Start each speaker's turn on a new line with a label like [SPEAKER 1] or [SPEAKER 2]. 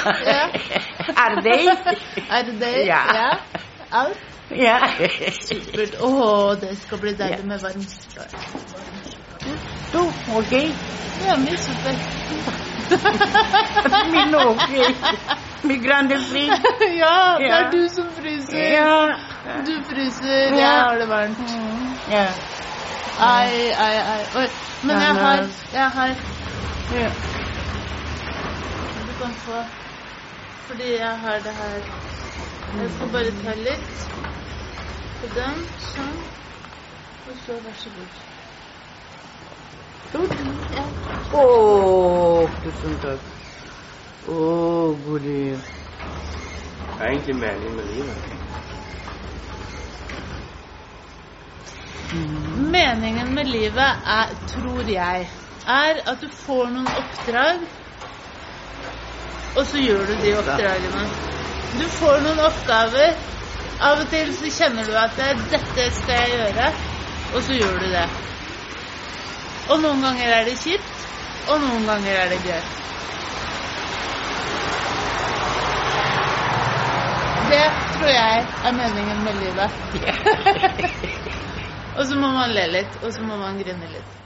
[SPEAKER 1] Ja.
[SPEAKER 2] Er det?
[SPEAKER 1] Er det det?
[SPEAKER 2] Ja.
[SPEAKER 1] Alt?
[SPEAKER 2] Ja.
[SPEAKER 1] Supert. Å, det skal bli deilig
[SPEAKER 2] Ja.
[SPEAKER 1] med varm suppe.
[SPEAKER 2] Du, ok.
[SPEAKER 1] Ja, mye suppe.
[SPEAKER 2] Min ok. Min grande fri.
[SPEAKER 1] ja, det
[SPEAKER 2] Ja.
[SPEAKER 1] er du som fryser.
[SPEAKER 2] Ja.
[SPEAKER 1] Du fryser, jeg
[SPEAKER 2] Ja.
[SPEAKER 1] har det varmt.
[SPEAKER 2] Ja.
[SPEAKER 1] Ai, ai, ai. Oi. Men
[SPEAKER 2] Ja,
[SPEAKER 1] jeg
[SPEAKER 2] men-
[SPEAKER 1] har, jeg har
[SPEAKER 2] Ja.
[SPEAKER 1] Du kan få Fordi jeg har det her Jeg skal bare ta litt På den, sånn Og så vær så god
[SPEAKER 2] Stort.
[SPEAKER 1] Ja.
[SPEAKER 2] Å, tusen takk. Å, guri.
[SPEAKER 3] Det er egentlig meningen med livet.
[SPEAKER 2] Mm.
[SPEAKER 1] Meningen med livet er, tror jeg Er at du får noen oppdrag Og så gjør du de oppdragene Du får noen oppgaver Av og til så kjenner du at det er Dette skal jeg gjøre Og så gjør du det Og noen ganger er det kjipt Og noen ganger er det gøy Det tror jeg er meningen med livet. og så må man le litt, og så må man grine litt.